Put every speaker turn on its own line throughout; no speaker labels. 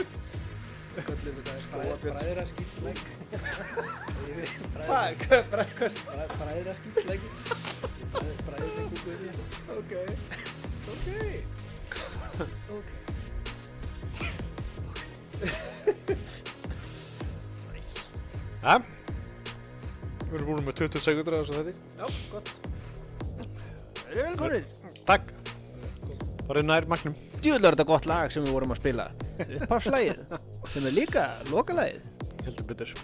Köllum við það er
Skógarbjörn.
bræðra skýtslegg.
Hvað, hvað, brekkur?
Bræðra skýtslegg. Bræðra skýtslegg.
Ok, ok,
Ok.
Hæ? Við erum búin með 20 sekundur að þessu þetta.
já, gott. Erum við velkomin?
Takk. Bara nær magnum.
Djúðlega er þetta gott lag sem við vorum að spila. Uppafslægið, sem er líka lokalagið.
Heldur betur.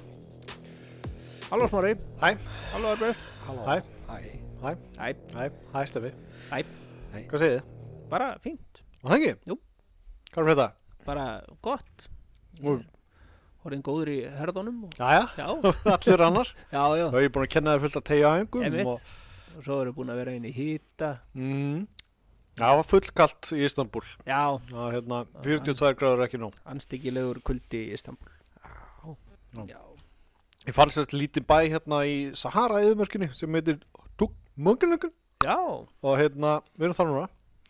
Halló Smári,
Hæ,
halló Arbjörn.
Halló.
hæ,
Hæ.
hæ,
Æ,
hæ, hæ, Stefi.
æ,
Hvað segið þið?
bara fínt,
Var það ekki?
Jú.
Hvað er þetta?
bara gott.
Og,
Hóriðin góður í herðunum og...
jæja,
Já,
allir annar.
já, já,
Það er ég búin að kenna þér fullt að tegja aðingum.
emitt. Og svo erum við búin að vera inn í hýta.
Mm, það var fullkalt í Istanbul.
Já,
Það var hérna 42 gráður er ekki nóg.
anstíkilegur kuldi í Istanbul. Já,
Já.
já.
Ég fann sérst lítið bæ hérna í Sahara-eðumörkinni sem heitir Tugmungalungun.
Já,
Og hérna, við erum þar núna.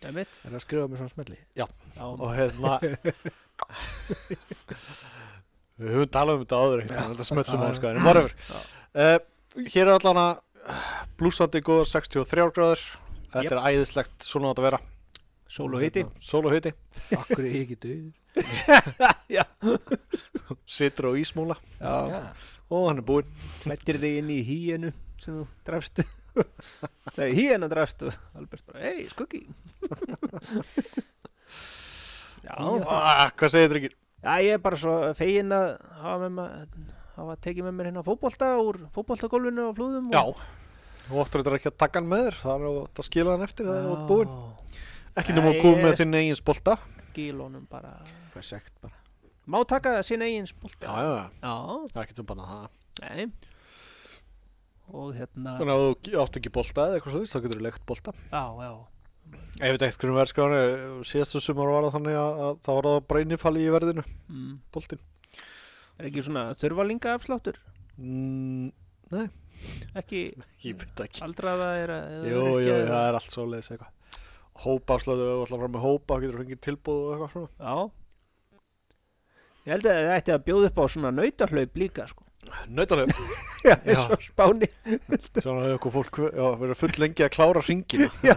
emitt.
Er það að skrifa mér svona smelli?
Já,
og hérna við höfum talað um þetta áður ekkert, þannig að þetta smötsum á sko, en bara yfir uh, hér er allan að blúsandi góðar 63 gráður þetta
Jep.
er æðislegt, svona átt að vera
sól og hýti.
sól og hiti,
Akkur er ég ekki döður?
Já,
situr á ísmúla
já.
og hann er búinn
Klættir þig inn í hýjenu sem þú drafst. Nei, hýjena drafst og Albert bara, hei, skuggi. já, já.
ah, hvað segir drengir?
ég er bara svo fegin að hafa með maður hafa tekið með mér hérna fótbolta úr fótboltagólfinu á flúðum
já, þú óttur þetta ekki að taka hann með þér það er ótt að skila hann eftir, það er ótt búinn ekki nema
Nei,
að koma með
ég-
þinn eigin spolta
gílónum bara
Fæ sekt bara.
má taka sín eigin spúlta
já, já, já,
já,
það er ekki sem banna það
Nei Og hérna
þannig að þú átt ekki bolta eða eitthvað svo, þá getur þú leikt bolta
Já, já
Ég veit ekkert hvernig verðskráðan síðastu sumar var það þannig að, að það var það brænifalli í verðinu,
mm.
boltinn.
Er ekki svona þurfalinga afsláttur?
Mm,
Ekki
ég veit ekki.
aldraða er að
Jú, jú, það er allt svo leiðis eitthvað. Hópa áslöðu, þú ætlar að fara með hópa, getur þú fengið tilbúð og eitthvað svona.
Já Ég held að það ætti að bjóða upp á svona nautahlaup líka sko
Nautanum.
Já,
Já.
eins og spáni
Svona hefur okkur fólk já, verið full lengi að klára ringina.
Já,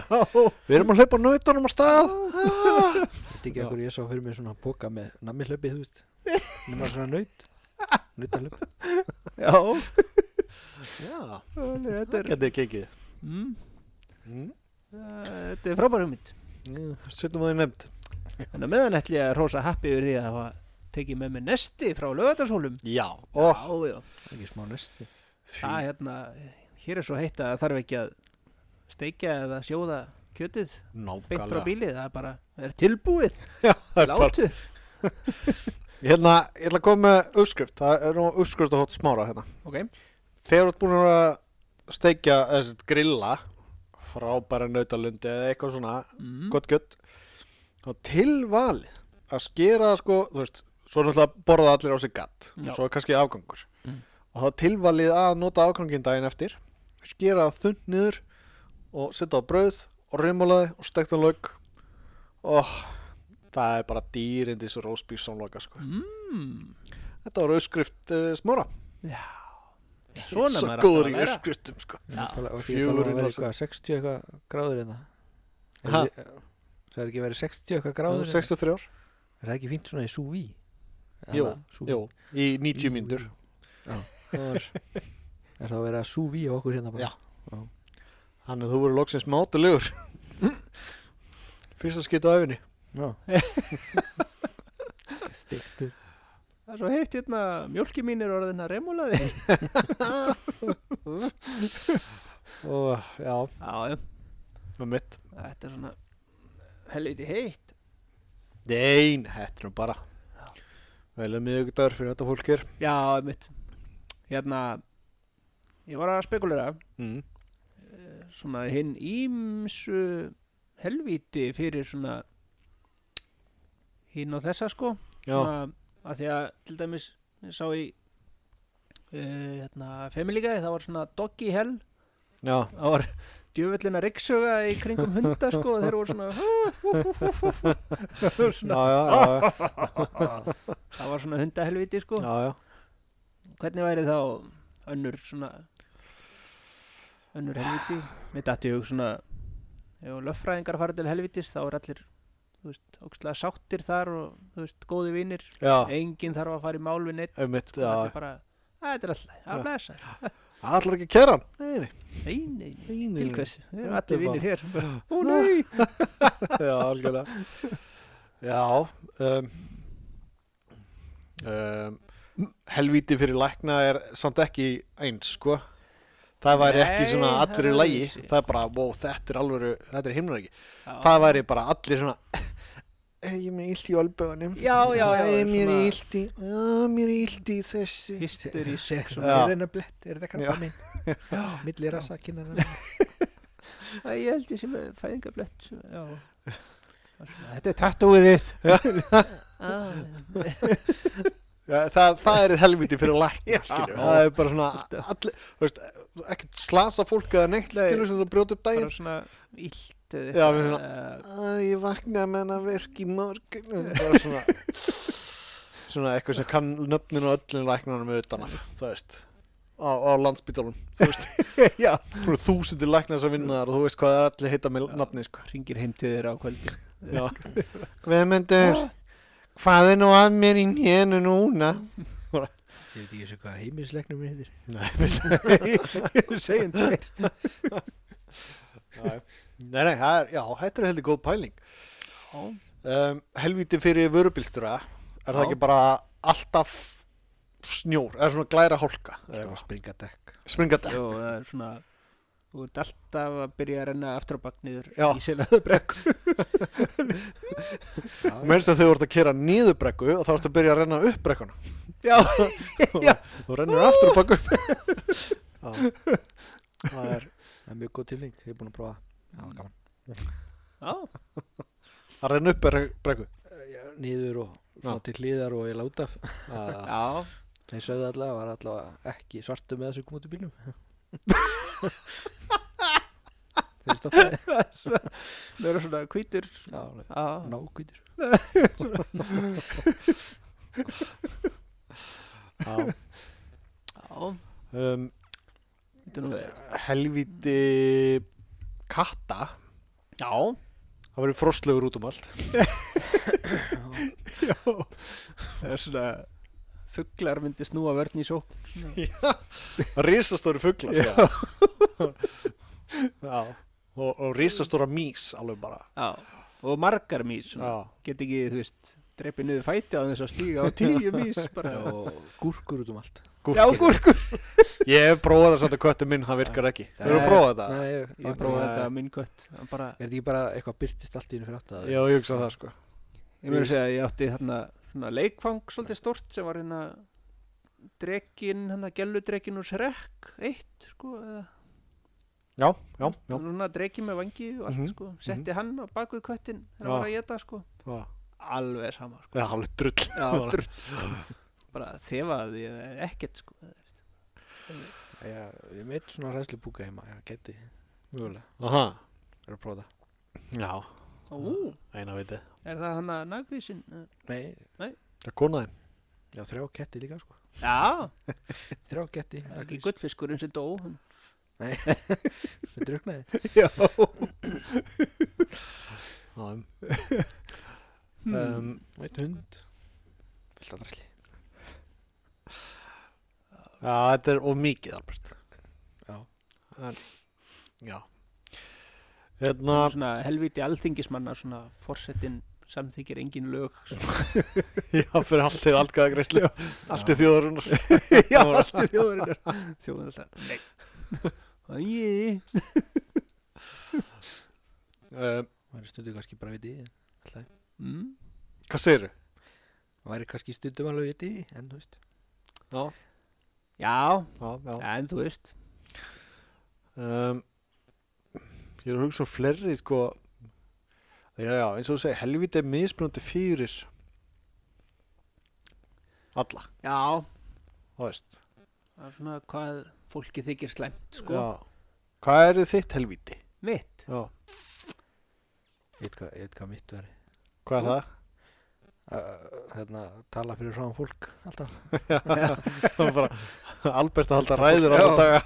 Við erum að hlaupa nautanum á stað.
Þetta ekki
Já.
akkur ég sá fyrir mér svona boka með nammi hlaupið, þú veist. Nú var svona naut. Nautahlaup.
já
Já,
þannig að Þetta
það
er
geti ekki ekki.
mm,
Mm.
það- Þetta er frábærum mitt
Sittum að því nefnd.
En að meðan ætli ég að rosa happy yfir því að hafa tekið með mér nesti frá lögatarsólum
Já. Oh,
Já, já
Ekki smá nesti.
Það er hérna, hér er svo heitt að það þarf ekki að steikja eða sjóða kjötið beint frá
nákvæmlega.
bílið, það er bara það er tilbúið,
Já, það er bara
látu
Ég ætla, Hérna, ég ætla að koma með uppskrift, það er nú uppskrift að hótt smára hérna.
Ok,
Þegar þú ert búin að steikja þessi grilla frábæra nautalundi eða eitthvað svona,
mm.
gott gött, þá tilvalið að skera það sko, þú veist, svo er náttúrulega borða allir á sig gatt
Já.
og svo er kannski afgangur.
Mm.
Og þá tilvalið að nota afgangin daginn eftir, skera það þund niður og setja á brauð og rimulaði og stekta lauk og það er bara dýrindis og rósbíf samloka sko.
Mm.
Þetta var auðskrift uh, smára.
Já Svona
Svo
maður alltaf að
góður í
læra
auðskriftum sko.
Já.
Og ekki tala um að
Fjörurinn
vera
á sig.
eitthvað 60 eitthvað gráður en
Ha?
það. Það er ekki verið 60 eitthvað
Nú,
gráður. hérna?
63 ár.
Er það ekki fínt svona í súví?
Jú, Jú, í 90 mínútur.
Já.
Það er-
Er það að vera súví á okkur hérna
Já.
bara?
Þannig að þú voru loksins mátulegur. Fyrsta skipt á öfinni.
Já. Stiktur.
Það er svo heitt hérna, mjólki mín er orðin að remulaði
Og já,
Já, já,
með mitt.
þetta er svona helviti heitt
Nein, þetta er nú bara. Velum miðugudagur fyrir þetta fólk er.
Já, mitt Hérna, ég var að spekulera
Mm.
svona hinn ímsu helvíti fyrir svona hinn og þessa sko
Já,
svona, að því að til dæmis ég sá í eh, uh, hérna, Family Guy það var svona Doggy Hell
já,
það var djöfullina ryggsuga í kringum hunda sko þeir voru svona Svona-
já, já, já,
það var svona hundahelviti sko
já, já.
hvernig væri þá önnur svona önnur helviti mér dætti hug svona ef löffræðingar fara til helvitis þá er allir þú veist, ókslega sáttir þar og þú veist, góði vinnir
já,
enginn þarf að fara í mál við neitt
einmitt,
sko,
já.
allir bara, "Æ, þetta er alltaf að blessa
Allar ekki að kæra hann? Nei, nei,
nei, nei, nei,
nei, nei.
til hvers Við erum
Þetta er
allir vinnir hér ó
Já.
nei
Já, algjörlega. Já, um, um, helvíti fyrir lækna er samt ekki eins, sko. Það væri ekki
Nei,
svona
það
allir í
er
lægi.
öðruvísi.
Það er bara, wow, þetta er alvöru, þetta er himnaríki.
Já.
Það væri bara allir svona, "Eh, ég er með illt í olböðunum.
Já, já, já,
Æ, mér er
svona-
illt í, já, mér er illt í þessu.
hysterísk
Sér
Já.
hennar blett, er þetta
Já.
krabba minn? Millir rassa kynna það.
Æ, ég held ég sem er fæðingablett svo- já. Það er svona, þetta er tattúið þitt Ah, já.
Já, það, það er helviti fyrir lækna, skilju. Það er bara svona,
Alltaf.
allir, þú veist, ekkert slasa fólk eða neitt,
Nei.
skilju, sem þú brjóti upp
bara
daginn.
svona illt eða
Já,
eitthvað,
við svona-
eh,
Æ, ég vaknaði með hennar verk í morgun. og Bara svona, svona eitthvað sem kann nöfnin og öllin læknanum utan af, þú veist, á, á landsbytalum.
já,
Þú veist, þúsundir lækna sem vinna þar og þú veist hvað er allir heita með nafni, sko.
ringir heim til þeirra á kvöldi
Já. Guðmundur, hvað er nú að mér í hénu núna?
Ég veit ekki eins og hvað heimilislegnum minn heitir.
Nei, við
segjum þeir
Já, já. Nei, nei, það er, já, þetta er heldur góð pæling. Um, helvíti fyrir vörubílstjóra, er það
Já.
ekki bara alltaf snjór, eða svona glæra hálka? eða
Það var
eitthvað?
springa dekk.
Springandi.
Jó, það er svona þú ert alltaf að byrja að renna aftur á bak niður
Já.
í selaðu brekku
Mér sem þau voru að kera niður brekku og þá ertu að byrja að renna upp brekkuna.
já, já,
Þú rennur aftur og baka upp. já. Það er,
Það er mjög góð tilning, ég er búin að prófa. Það var gaman.
já,
að renna upp bre- brekku.
Mm. Niður og
Já.
svona til hliðar og ég láta.
Já,
já.
Þeir sögðu allavega, var allavega ekki svartu með þessu kom út í bílum. Þeir stoppaði.
það eru svona hvítur
Já, alveg.
já,
nákvítur.
já.
já,
Um,
þetta er nú
helvíti katta,
já,
það verður frostlögur út um allt.
Já, það er svona fugglar myndi snúa vörn í sókn
Rísastóri fuglar Já, já. Og, og rísastóra mís alveg bara
já. og margar mís
Já,
get ekki, þú veist, dreipið niður fæti á þess að stíga á tíu mís bara.
Og gúrkur út um allt.
Já, gúrkur
Ég hef prófað þess að þetta köttu minn, það virkar ekki Þú hefur
Nei,
prófað þetta?
Nei, ég,
Ég
ég
prófaði
Nei.
þetta að minn kött hann bara,
Er þetta ekki bara eitthvað byrtist allt í hennu fyrir átt að
Já, ég hugsa það sko
Ég mér að segja að ég átti þarna svona leikfang svolítið stort sem var hérna drekin, hérna gelludrekin úr Shrek eitt, sko eða,
Já, já, já,
núna drekin með vangi og allt,
Mhm,
sko setti hann á bakvið köttin þegar
Já.
hann var að geta, sko
já.
alveg sama, sko
Það er alveg drull
Já, drull, sko. bara þefaði ég ekkert sko.
Já, ég meitt svona ræðslu búka heima, já, geti, mjögulega,
Aha,
er að prófa það.
já,
Ú,
eina viti
er það hann að nagrísin?
Nei,
Það er kona þinn
já, þrjá ketti líka, sko.
Já,
Þrjá ketti,
það er ekki gullfiskurinn sem dó hann.
Það druknaði.
Já,
Já, um. um,
Og einn hund. Fyllt að dræsli.
já, þetta er of mikið Albert
Já.
en, Já Hérna
svona helviti alþingismanna svona forsetin samþykir engin lög svona.
Já, fyrir allt til alltaf greiðslu Allt til þjóðarunar
Já, allt í þjóðurinnar Þjóðurinnar alltaf, nei Æi,
um,
Það væri stundum kannski bara vitið, en alltaf.
mm,
Hvað segirðu?
Það væri kannski stundum alveg vitið, en þú veist.
Já,
já,
já, já.
en þú veist
Um, ég er að hugsa um fleiri, sko. Já, já, eins og þú segir, helviti er mismunandi fyrir alla,
Já,
þú veist.
það er svona hvað fólki þykir slæmt sko
Já, Hvað er þitt helvíti?
mitt
Já.
Ég veit hvað, ég veit hvað mitt veri.
Hvað er það?
Hérna, tala fyrir svona fólk alltaf.
Það er bara, Albert að halda ræður alltaf daga.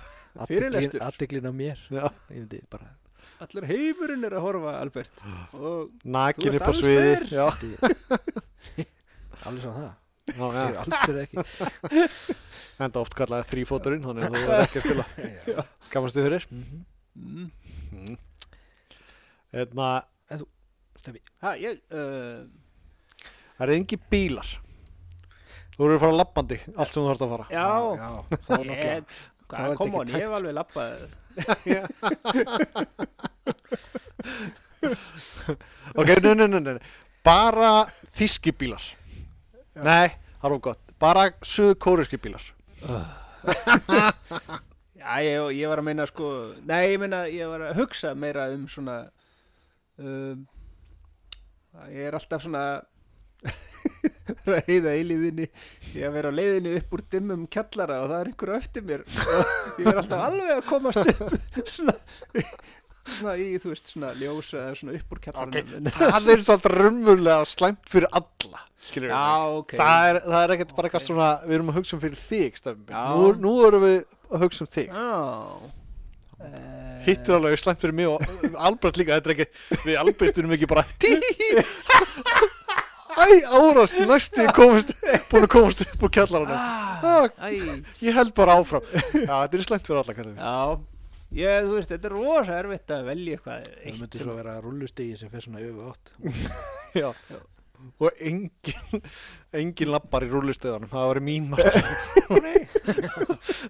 Fyrirlestur.
Attiklin á mér.
Já.
Ég myndi bara,
allir heimurinn er að horfa Albert og Þú
Nakin
ert
upp á
alveg
sviði.
spyr.
Já,
allir svona það.
já,
Ég
já.
er aldrei ekki.
Enda oft kallaði þrýfóturinn, þannig að þú er ekki til að
Já.
skamastu fyrir.
Mhm.
mm,
Hérna,
Steffi,
ha, ég, uh,
það eru engi bílar. Þú eru að fara lappandi, allt sem þú þarfst að fara.
já,
já, þá er náttúrulega
ég,
þá er
hvað kom
þetta
on,
ekki
ég hef alveg lappað
Ok, nei, nei, nei, nei. Bara þíski bílar. Nei, það er of gott. Bara suðkóriski bílar.
Já, ég, ég var að meina sko, nei, ég meina, ég var að hugsa meira um svona, um, að ég er alltaf svona, er að heiða eilíðinni, ég að vera á leiðinni upp úr dimmum kjallara og það er einhver á eftir mér og ég er alltaf alveg að komast upp svona, svona í, þú veist, svona ljósa eða svona upp úr
Ok,
kjallaranum.
það er samt raunverulega slæmt fyrir alla. Skilur við.
Já, ok.
Það er, það er ekkert bara eitthvað
Ok.
svona, við erum að hugsa um fyrir þig, stefnum.
Já.
Nú, nú erum við að hugsa um þig.
Já. Eh,
Hitt er alveg slæmt fyrir mig og Albert líka, þetta er ekki, við Albert erum ekki bara tí, æ, árast, næstu komist, búin að komast upp úr kjallaranum.
Ah, æ.
Ég held bara áfram. Já, þetta er slæmt fyrir alla, kallar við.
Já, ég, þú veist, þetta er rosa erfitt að velja eitthvað
það
eitt
myndi
sem
svo vera rullustegi sem fer svona öfu átt.
Já.
Já.
Og engin, engin lappar í rúlustöðanum, það var mín margt.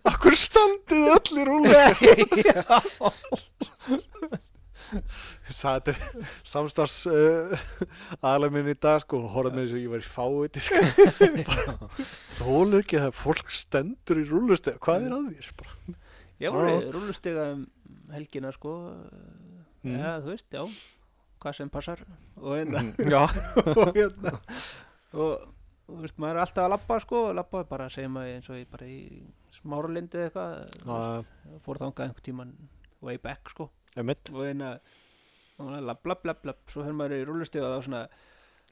Akkur standið öll í rúlustöðanum. Það er samstars uh, aðlega minn í dag sko, hún horfði með þess að ég var í fáið sko. Þólu ekki að fólk stendur í rúlustöðan, hvað er að þér? Bara.
Ég voru rúlustega um helgina, sko
Mhm.
Mm.
Já, þú veist, já Hvað sem passar Og hérna
Já,
Og hérna Og, þú veist, maður er alltaf að labba, sko Labba bara, segjum að eins og ég bara í Smáralindi eða eitthvað þú veist,
uh,
Fór þangað einhvern tíman way back, sko
emitt.
Og hérna og maður lapp, lapp, lapp, lapp Svo fyrir maður í rúlustega og þá svona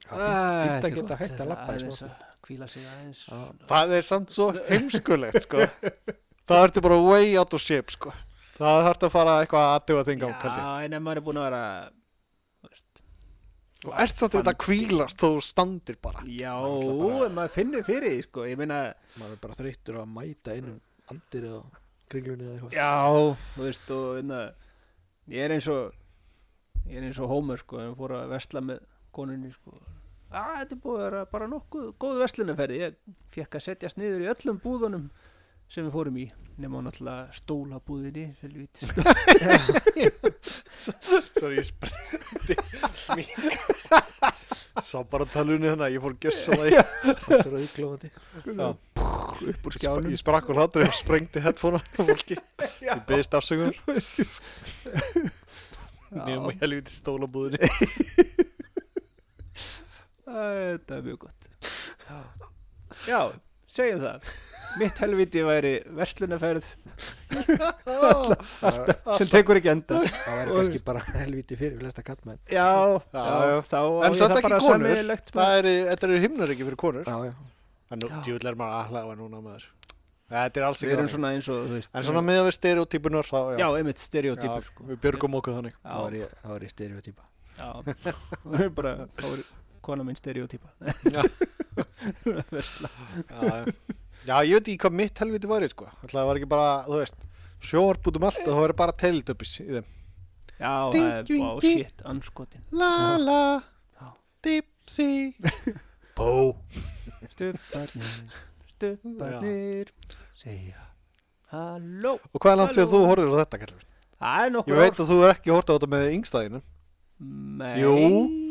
Það
"Ah,
er fínt- fínt
þetta
að geta
gott,
hægt að labba í
aðeins
smá
að Hvíla sig aðeins
Já.
svona.
Það er samt svo heimskulegt sko. Það ertu bara way out of shape sko. Það þarf að fara eitthvað að aðdjóða þingar um kaldi.
Já, en ef maður er búin að vera þú veist,
Þú ert samt þetta að kvílast þó þú standir bara.
Já,
Ah, maður ætla bara-
en maður finnir fyrir því sko, ég meina
Maður er bara þreyttur á að mæta einum andir eða kringlunni eða eitthvað.
Já, þú veist, og einna, ég er eins og ég er eins og Homer sko, en fór að vesla með konunni sko að þetta er búið að vera bara nokkuð góð veslunarferði, ég fekk að setjast niður í öllum búðunum sem við fórum í nema náttúrulega stólabúðinni helvít
Sorry, ég sprendi mink. Sá bara talunni hérna, ég fór gessa það. Ég,
Allt er auðglóðandi.
upp úr
sp-
skjánum
ég sprakk úr hlátur og sprengdi headphone á fólki. Ég byggðist afsökunar. Nefnum
Já.
í helviti stólabúðinni.
Æ, Þetta er mjög gott Já, segjum það Mitt helviti væri verslunarferð
Það
sem tekur ekki enda
það væri kannski bara helviti fyrir flesta kallmenn.
Já,
Já,
já,
já.
þá á
En
ég
samt
það
ekki
bara
konur.
sameiginlegt með-
Það eru, þetta eru himnar ekki fyrir konur.
Já, já.
En nú,
Já.
djúvill er maður aðhlaða núna maður. Þetta er alls ekki
Við erum
þannig.
svona eins og þú veist
En svona miðað við stereotypunar þá, já,
Já, einmitt stereotypur
Já,
sko
Við björgum okkur þannig
Þá
Já,
er ég- þá er ég stereotýpa.
já Það er bara, þá er kona mín stereotypa
Já, já, já ég veit ekki hvað mitt helviti væri sko Ætla, Það var ekki bara, þú veist Sjóvarp út um allt og það væri bara teilitöpis í þeim
Já, það
Ding,
er
ding,
bá
ding.
shit, anskotin
La la,
Já.
dipsi Bó
Stubbarnir, stubbarnir Segja Halló
Og hvað er langt sér
Halló.
þú horfir á þetta kallum?
Það er
Ég
nokkur
veit að þú er ekki horft á þetta með yngstæðinu
Nei
Jú,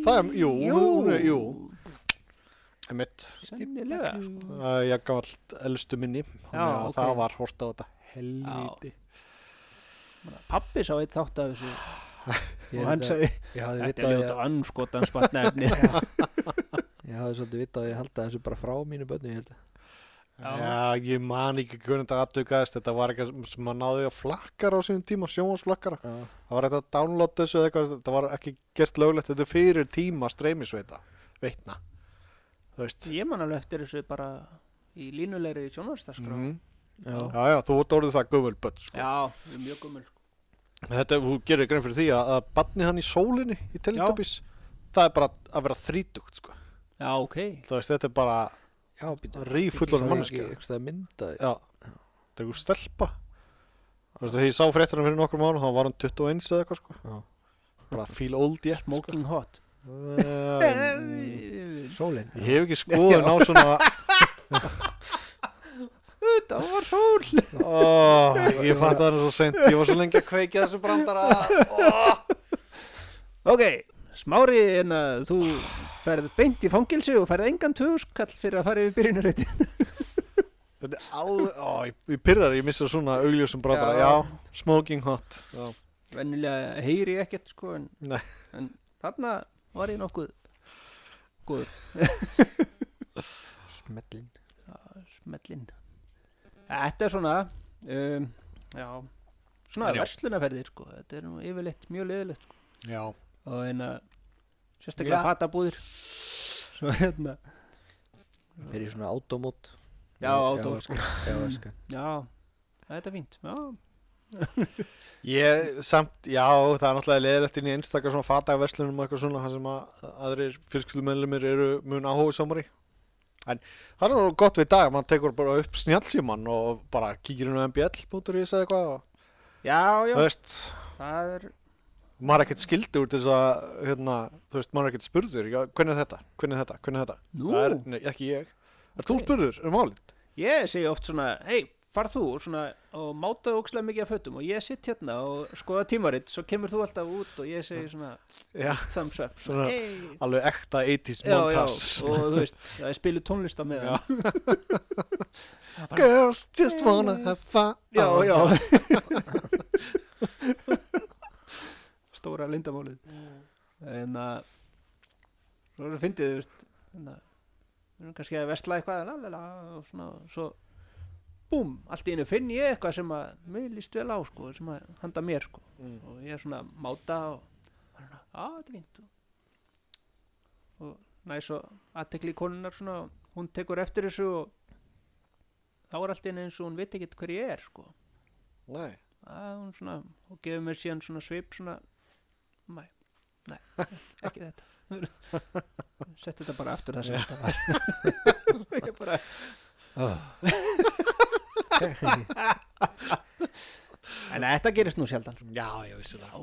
það er- jú, hún er- jú. Emitt,
Sennilega sko
uh, ég gaf allt elstu minni Þannig að
ok.
það var horft á þetta helviti
Pappi sá eitt þátt af þessu
Ég
og
er
hann
þetta-
sagði
Ég hafði
Þetta er
vitað að
ljóta
ég-
anskotans barnefni
ég hafði svolítið vitað að ég halda þessu bara frá mínu bönni, ég held að.
Já.
Já, ég man ekki hvernig þetta aðtökaðist, þetta var eitthvað sem maður náði að flakkar á sínum tíma, sjónvarsflakkara.
Já.
Það var eitthvað að downloada þessu eða eitthvað, þetta var ekki gert löglegt, þetta er fyrir tíma streymisveita, veitna. Þú veist.
Ég man alveg eftir þessu bara í línulegri sjónvarsdagskrá.
Mhm.
Já.
Já, já, þú ert orðið það gummulböld, sko.
Já, við erum mjög gummul sko.
Þetta, þú gerir grein fyrir því að, að badni hann í sólinni í Teletubbies, það er bara að vera þrítugt, sko.
Já, ok.
Þú veist, þetta er bara,
Já, býtum.
Rífullan manneskja.
Ekki eitthvað mynda.
já, þetta er einhver stelpa. Þú veist, þegar ég sá fréttina fyrir nokkur mánu, þá var hann 21 eða eitthvað, sko.
Já.
Bara feel old yet, sko.
Smoking hot.
Um,
Sólin.
Ég hef ekki skoðun á svona
Það var sól.
ó, Ég fatt að það er svo sent Ég var svo lengi að kveikja þessu brandara ó.
Ok, smári en að þú ferð beint í fangilsi og ferð engan töðuskall fyrir að fara yfir byrjunarreitin.
Þetta er alveg ó, Ég, ég pyrrar, ég missa svona augljósum brandara
Já.
Já, smoking hot já.
Venjulega heyri ég ekkert sko en,
Nei.
en þarna var ég nokkuð góður.
Smellin.
Smellin. Þetta er svona, um, já, svona
En já.
verslunaferðir sko. Þetta er nú yfirleitt mjög leðilegt sko.
já
Og en að sérstaklega
Já.
fatabúðir. Svo hérna,
Fyrir svona automót.
já, átó sko.
Já, sko.
Já, þetta er fínt. Já,
Ég samt, já, það er náttúrulega leðilegt inn í einstakar svona fatagverslunum og eitthvað svona þar sem að aðrir fjölskyldumennlumir eru mun áhuga samari En það er nú gott við í dag, mann tekur bara upp snjálsíman og bara kíkir inn á MBL bútur í þessu eitthvað og
já, já.
þú veist,
það er,
maður er ekkert skildi úr til þess að, hérna, þú veist, maður er ekkert spurður, já, hvernig er þetta, hvernig er þetta, hvernig er þetta,
nú,
það er, nei, ekki ég, er þú
Ok.
spurður um málið?
ég segi oft svona, hei, far þú og svona, og mátaðu ókslega mikið af fötum og ég sitt hérna og skoða tímaritt, svo kemur þú alltaf út og ég segi svona,
Já,
thumbs up,
Svona-
hei,
alveg ekta 80s
já, já,
montas,
og þú veist, það er spilu tónlist á meðan. Það er bara-
girls just wanna have fun,
Já, já. Stóra lindamálið. Mm. En að, svo er það fyndið, þú veist, en að, við erum kannski að vesla eitthvað, lalala, og svona, og svo, búm, allt í einu finn ég eitthvað sem að, mér líst vel á, sko, sem að handa mér, sko,
Mm.
og ég er svona að máta og, hann er svona, að, þetta er fínt, og, og næ, svo, aðtekli konunar svona, og hún tekur eftir þessu og, þá er allt í einu eins og hún veit ekkert hver ég er, sko,
Nei.
að hún svona og gefur mér síðan svona svip svona mæ, nei, ekki þetta sett þetta bara aftur það sem þetta var ég bara en þetta gerist nú sjaldan svona.
Já, já, vissulega.
Já, já.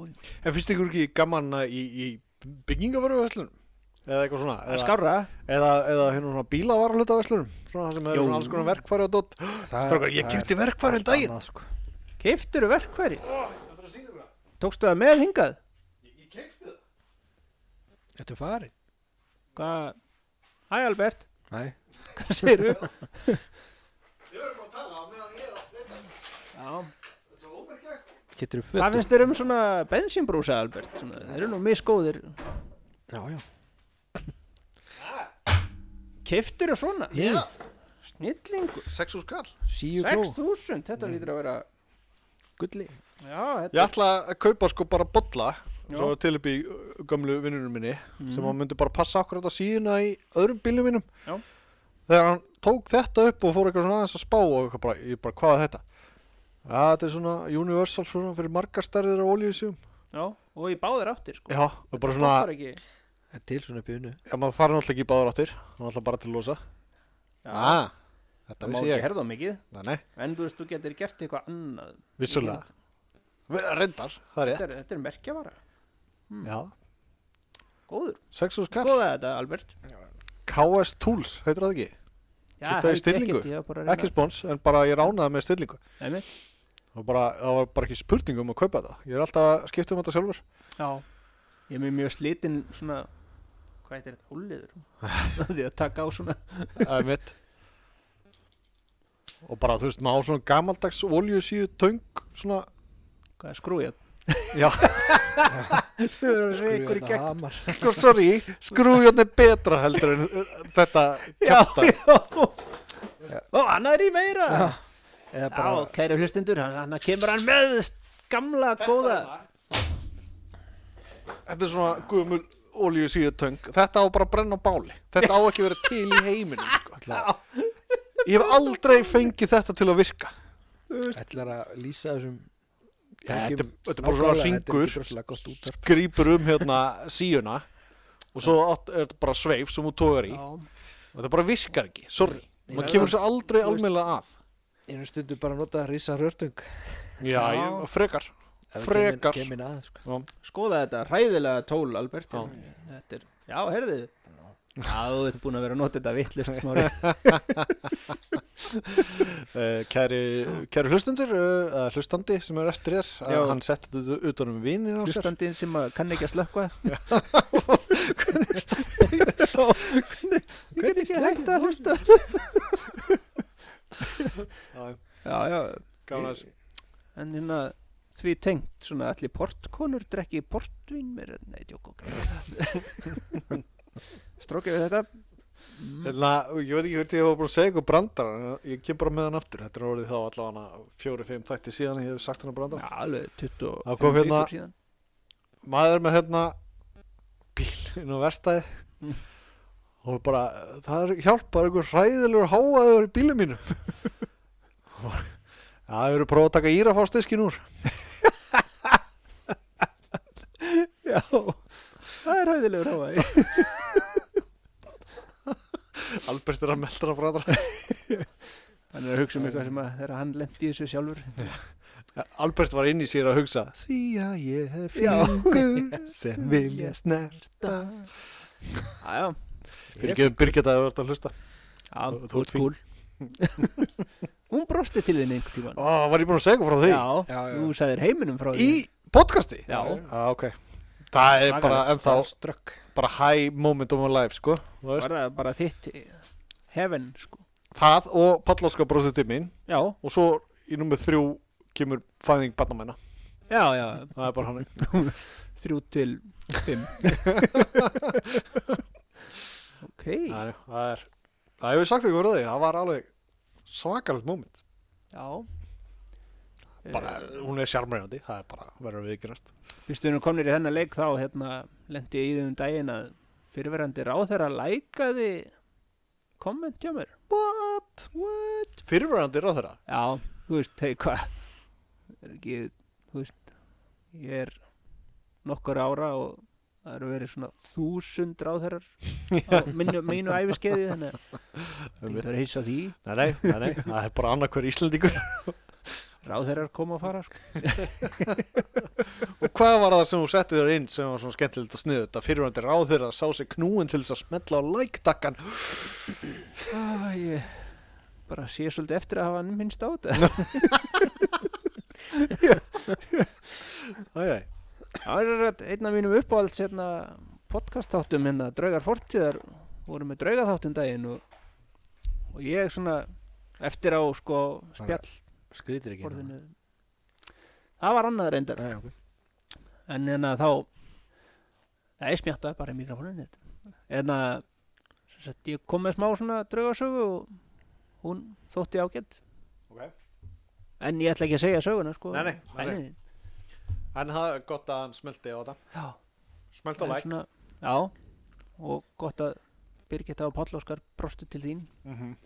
En finnst ykkur ekki gaman að í, í byggingavaruverslunum? Eða eitthvað svona?
það er
Eða,
skárra
eða, eða hérna svona bílavaralutaverslunum? Svona sem
Jú.
eru svona alls konar verkfæri og dótt. Strákar, ég kipti verkfæri um daginn.
annað, sko.
keiftur verkfæri tókstu það með hingað
Þetta er farið.
hvað, hæ Albert
Nei.
hvað segirðu já
Kiptir þú
Hvað
fötum?
finnst þér um svona bensínbrúsa, Albert? Svona, þeir eru nú misgóðir.
Já, já.
Keftur og svona?
Já.
Snillingu.
Sex úr skall.
Síu kló.
6.000, þetta lítur að vera...
Gulli.
Já,
Ég
þetta...
ætla að kaupa sko bara bolla
Já. Mhm.
svo til upp í uh, gömlu vinnunum minni sem hann myndi bara passa okkur á síðuna í öðrum bílum mínum.
Já.
Þegar hann tók þetta upp og fór eitthvað svona aðeins að spá og eitthvað bara, ég bara, hvað er þetta? Já, þetta er svona universal svona fyrir margar stærðir af olíusjum.
Já, og í báðir áttir, sko.
Já, og bara svona,
Stoppar ekki.
Það er til svona bjönu.
Já, maður þarf náttúrulega ekki í báður áttir, hann er alltaf bara til að losa. Já, ah, þetta
það má
vissi
ekki
ég.
herða á mikið.
Nei, nei,
En þú veist, þú getur gert eitthvað annað.
vissulega. Við- Reyndar, það er ég.
Þetta er, þetta er merkjavara. Mm.
Já,
Góður.
sex og skall.
Góða þetta, Albert.
KS Tools, heitir það ekki?
Já,
Þetta er
heldur
stillingu.
Ekkert, ég var bara að
Ekki
reyna.
spons, en bara ég ránaði með stillingu.
Ekki...
Það var bara, það var bara ekki spurning um að kaupa þetta. Ég er alltaf að skipta um þetta sjálfur.
Já. Ég er með mjög slitinn svona... Hvað heitir þetta? Úliður. Því að taka á svona...
Það er mitt. Og bara, þú veist, maður á svona gamaldags oljusíu töng, svona,
Hvað er skrúið?
já,
Þau eru reykur í gegn.
hamar.
sko, hérna sorry, skrújón er betra heldur en uh, þetta
Já,
kjartar.
já. Ó, annar í meira Já,
Eða bara,
kæru hlustindur, hann, hann kemur hann með gamla góða
Þetta er svona guðmul olíu síðutöng Þetta á bara að brenna á báli Þetta á ekki að vera til í heiminum sko. Ég hef aldrei fengið þetta til að virka
ætlar að lýsa þessum
Ja,
tækjum
þetta er- þetta er bara svona
nákvæmlega, Þetta
hringur.
er ekki droslega gott útvarp
Grípur um hérna síuna Og svo átt- er þetta bara sveif sem hún tógar í
Já,
Og þetta bara virkar ekki, sorry
Nei,
Maður kemur þessu aldrei
þú veist-
almennlega að
Einu stundu bara að nota að rísa rörtung
Já, ég, frekar Frekar
Kemin að, sko
skoða þetta, hræðilega tól, Albert Já, þetta er, já heyrðu Já, þú ert búin að vera að nota þetta vittlust smári
Eh, Kæri, kæri hlustundur, uh, hlustandi sem er eftir þér,
Já.
uh, hann setti þetta utan um vini á sér.
hlustandinn sem að kann ekki að slökka Ég get ekki hægt að hlusta
Já,
Já, já,
Gaman að þessu.
en hérna því tengt svona allir portkonur drekki portvín mér, nei, djók ok Strókið við þetta
Hérna, ég veit ekki hvort ég var búin að segja eitthvað brandar, en ég kem bara með hann aftur. Þetta er orðið þá allavega fjóri-fimm þætti síðan ég hef sagt hann að brandar.
Já, alveg 25
Það kom hérna-
vikur síðan
Maður er með hérna bíl inn á verstaði
Mm.
og bara, það er hjálpar einhver hræðilegur háaður í bílum mínum. Og- Já, það eru prófað að taka írafástiskin úr.
Já, það er hæðilegur hávæði
Albert er að melda hann að brandar.
Hann er að hugsa um eitthvað sem að þegar hann lendi í þessu sjálfur
Albert var inn í sér að hugsa Því að ég hef
Já.
fingur sem vilja snerta
Já, já,
Fyrir ekki um Birgit að það vart að hlusta
já,
Þú- þú
þú
ert
ert kúl Hún brosti til þinn einhvern tímann
Ó, var ég búin að segja eitthvað frá því?
Já,
Já, já.
þú sagðir heiminum frá
Í
því
podcasti?
Já.
ah, ok Það er bara
Svakalegt.
ennþá
Strökk
bara high moment of my life sko þú
Var
veist.
það bara þitt heaven, sko
Það og Palláska brosið til mín
Já,
og svo í nummer þrjú kemur fæðing barnamenna
já, já,
Það er bara hann
þrjú til fimm Ok,
Það er, það er Það hefur sagt eitthvað verið því Það var alveg svakalegt moment
já Eh,
Bara, hún er sjarmreifandi Það er bara verður við ekki næst
Vistu, við erum komnir í þennan leik þá hérna lendi ég í því um daginn að fyrirverandi ráð þeirra lækaði komment hjá mér
What? What? Fyrirverandi ráðherra?
Já, þú veist, hei, hvað er ekki, þú veist ég er nokkur ára og það eru verið svona þúsund ráðherrar á mínu, mínu æfiskeiði þannig að
Einmitt.
það er hissa á því
Nei, nei, nei, nei, það er bara annað hver Íslendingur
ráðherrar koma að fara sko.
Og hvað var það sem þú settið þér inn sem var svona skemmtilegt að sniðu þetta fyrirverandi ráðherra sá sig knúin til þess að smetla á lækdakkan
ah, ég bara sé svolítið eftir að hafa minnst á þetta
Æjæj,
það er rétt, einn af mínum uppáhalds hérna, podcastáttum hérna, draugar fortíðar voru með draugaþáttum daginn og, og ég svona eftir á sko spjall
Skrítir ekki
borðinu það var annað reyndar
Nei, ok.
en hérna þá það er smjáttað bara í mikrofóninu en að sett, ég kom með smá svona draugasögu og hún þótti ágætt
Ok.
en ég ætla ekki að segja söguna sko
Nei, nei, nei, nei. en það er gott að hann smelti á þetta
Já,
Smelt á
það er
læk
svona, já og gott að Birgitta og Páll Óskar brostu til þín
Mhm.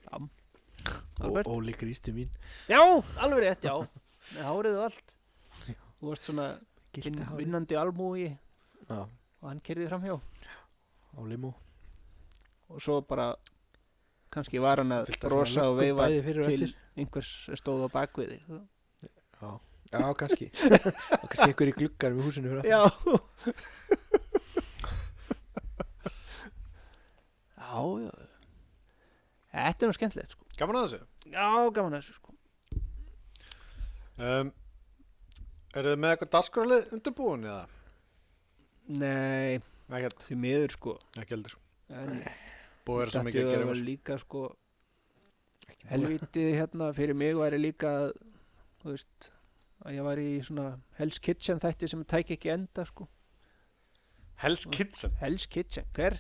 Albert?
Ó- Óli grísti mín
já, alveg rétt, já með hárið og allt þú varst svona vin,
Gildi hárið
vinnandi almúi
Já,
og hann kerði framhjá
á limó
og svo bara kannski var hann að
Fullt af
brosa
svona
og
löggum
veifa
bæði fyrir og
til
eftir.
einhvers sem stóð á bakviði
Já, kannski Og kannski einhver í gluggar við húsinu fyrir aftan.
já já, já þetta er nú skemmtilegt sko.
Gaman að þessu
já, gaman að þessu sko.
um, Eru þið með eitthvað dasgrálið undirbúin eða?
nei,
Ekkert,
því miður sko
ekki heldur
en
Búið að vera svo
datt
mikið
ég að
að gera
var
vel
líka sko
Ekki búið.
helvitið hérna fyrir mig væri líka að, þú veist að ég var í svona Hell's Kitchen þætti sem tæk ekki enda sko
Hell's Kitchen
Hell's Kitchen hver,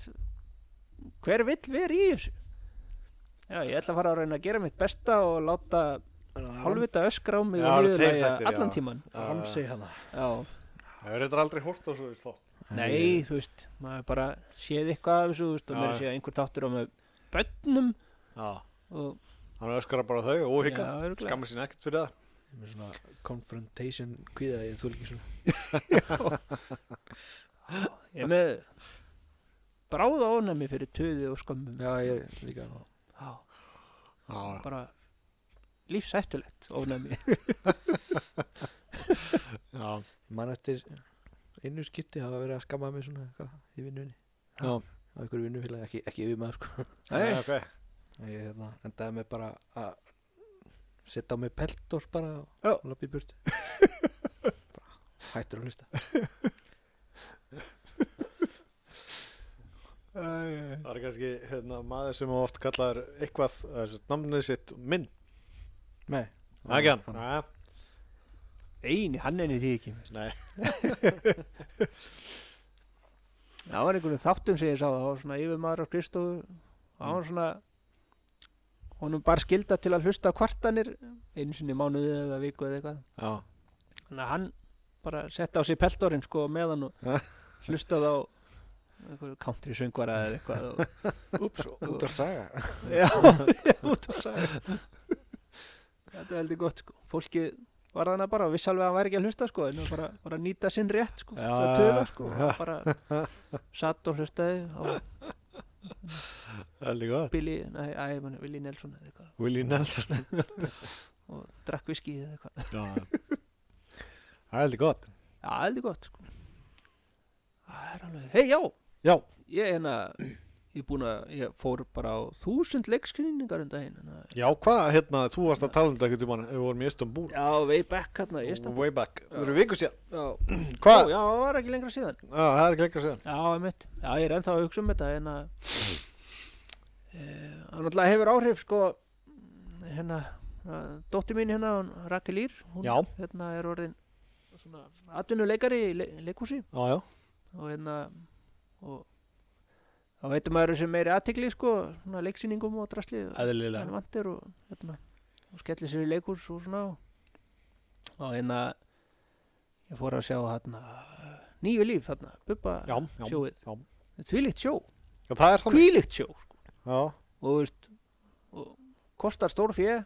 hver vill vera í þessu Já, ég ætla að fara að reyna að gera mitt besta og láta hálfvita öskra á mig
Já,
og
það eru þeir
niðurlægja
þættir, já.
allan tíman.
Ramsey hana
Já,
Það er eitthvað Eh, aldrei hórt á svo þátt.
nei, þú veist, maður bara séð eitthvað af þessu, þú veist, og
Já,
mér
já.
sé einhver þáttur á með bönnum
Já,
og
hann öskara bara á þau og óhygga.
Já, örugglega.
Skammar sín ekkert fyrir það.
með svona confrontation kvíða ég þú ekki svona
ég er með bráða ónæmi fyrir töði og skömmum.
já ég er líka nú
Já,
Já,
bara lífsættulegt ónæmi.
já.
mann eftir einu skipti hafa verið að skamma mig svona eitthvað í vinnunni
Já.
á einhverju vinnufélagi ekki, ekki yfir maður sko
Nei,
Nei,
ok.
ég hérna, endaði mig bara að setja á mig peltor bara
Já.
og lappi í burtu Bara hættur að hlusta
Æ, æ, æ.
Það er kannski hérna, maður sem oft kallar eitthvað, eh, sem sagt, namnið sitt minn.
nei
Það er ekki hann. Nei,
eini, hann enni því ekki.
Nei.
Það var einhvern þáttum sem ég sá, það var svona yfirmaður á Kristofu og
Mm.
hann var svona honum bara skilda til að hlusta á kvartanir einu sinni í mánuði eða viku eða eitthvað
Já.
þannig að hann bara setta á sig peltorinn sko á meðan
Ha?
og hlustaði á einhverju country söngvara eða eitthvað og,
ups, út af saga
já, já, út á saga þetta er heldur gott sko fólki var þannig bara og vissi alveg að hann væri ekki að hlusta sko en hann bara var að nýta sinn rétt sko
Já,
til að töða
já,
sko
já.
bara satt og hlustaði á
Það er líka gott.
Billy, nei, æ, mann, Willi Nelson eða eitthvað
Willie Nelson.
og drakk viski eða eitthvað
Já. Það er heldur gott.
Já, heldur gott sko. Það er alveg, hei já
Já.
ég er hérna ég, er búinn að, ég fór bara á þúsund um leikskynningar enda hinn hana.
Já, hvað, hérna, þú varst að tala um þetta eitthvað tíma, við vorum í Istanbul.
Já, way back hérna í Istanbul
Way back. Við erum viku síðan.
Já, Ó,
Hvað? Já,
já, það var ekki lengra síðan
það er ekki lengra síðan.
Já, einmitt, já, ég er ennþá að hugsa um þetta en að hann alltaf hefur áhrif sko hérna, dóttir mín hérna hún Rakel Ír, hún
Já.
hérna er orðin svona atvinnuleikari í le leikúsi
Já, já.
og hérna og þá veitum maður þessu meiri aðtegli sko, svona leiksýningum og drasli
Eðlilega.
hann vantir og hérna og skellir sér í leikurs og svona og hérna ég fór að sjá hérna nýju líf hérna, bubba
Já, já.
sjóið
já.
þvílíkt sjó,
Já, það er þannig.
hvílíkt sjó sko.
Já,
og þú veist og kostar stór fjö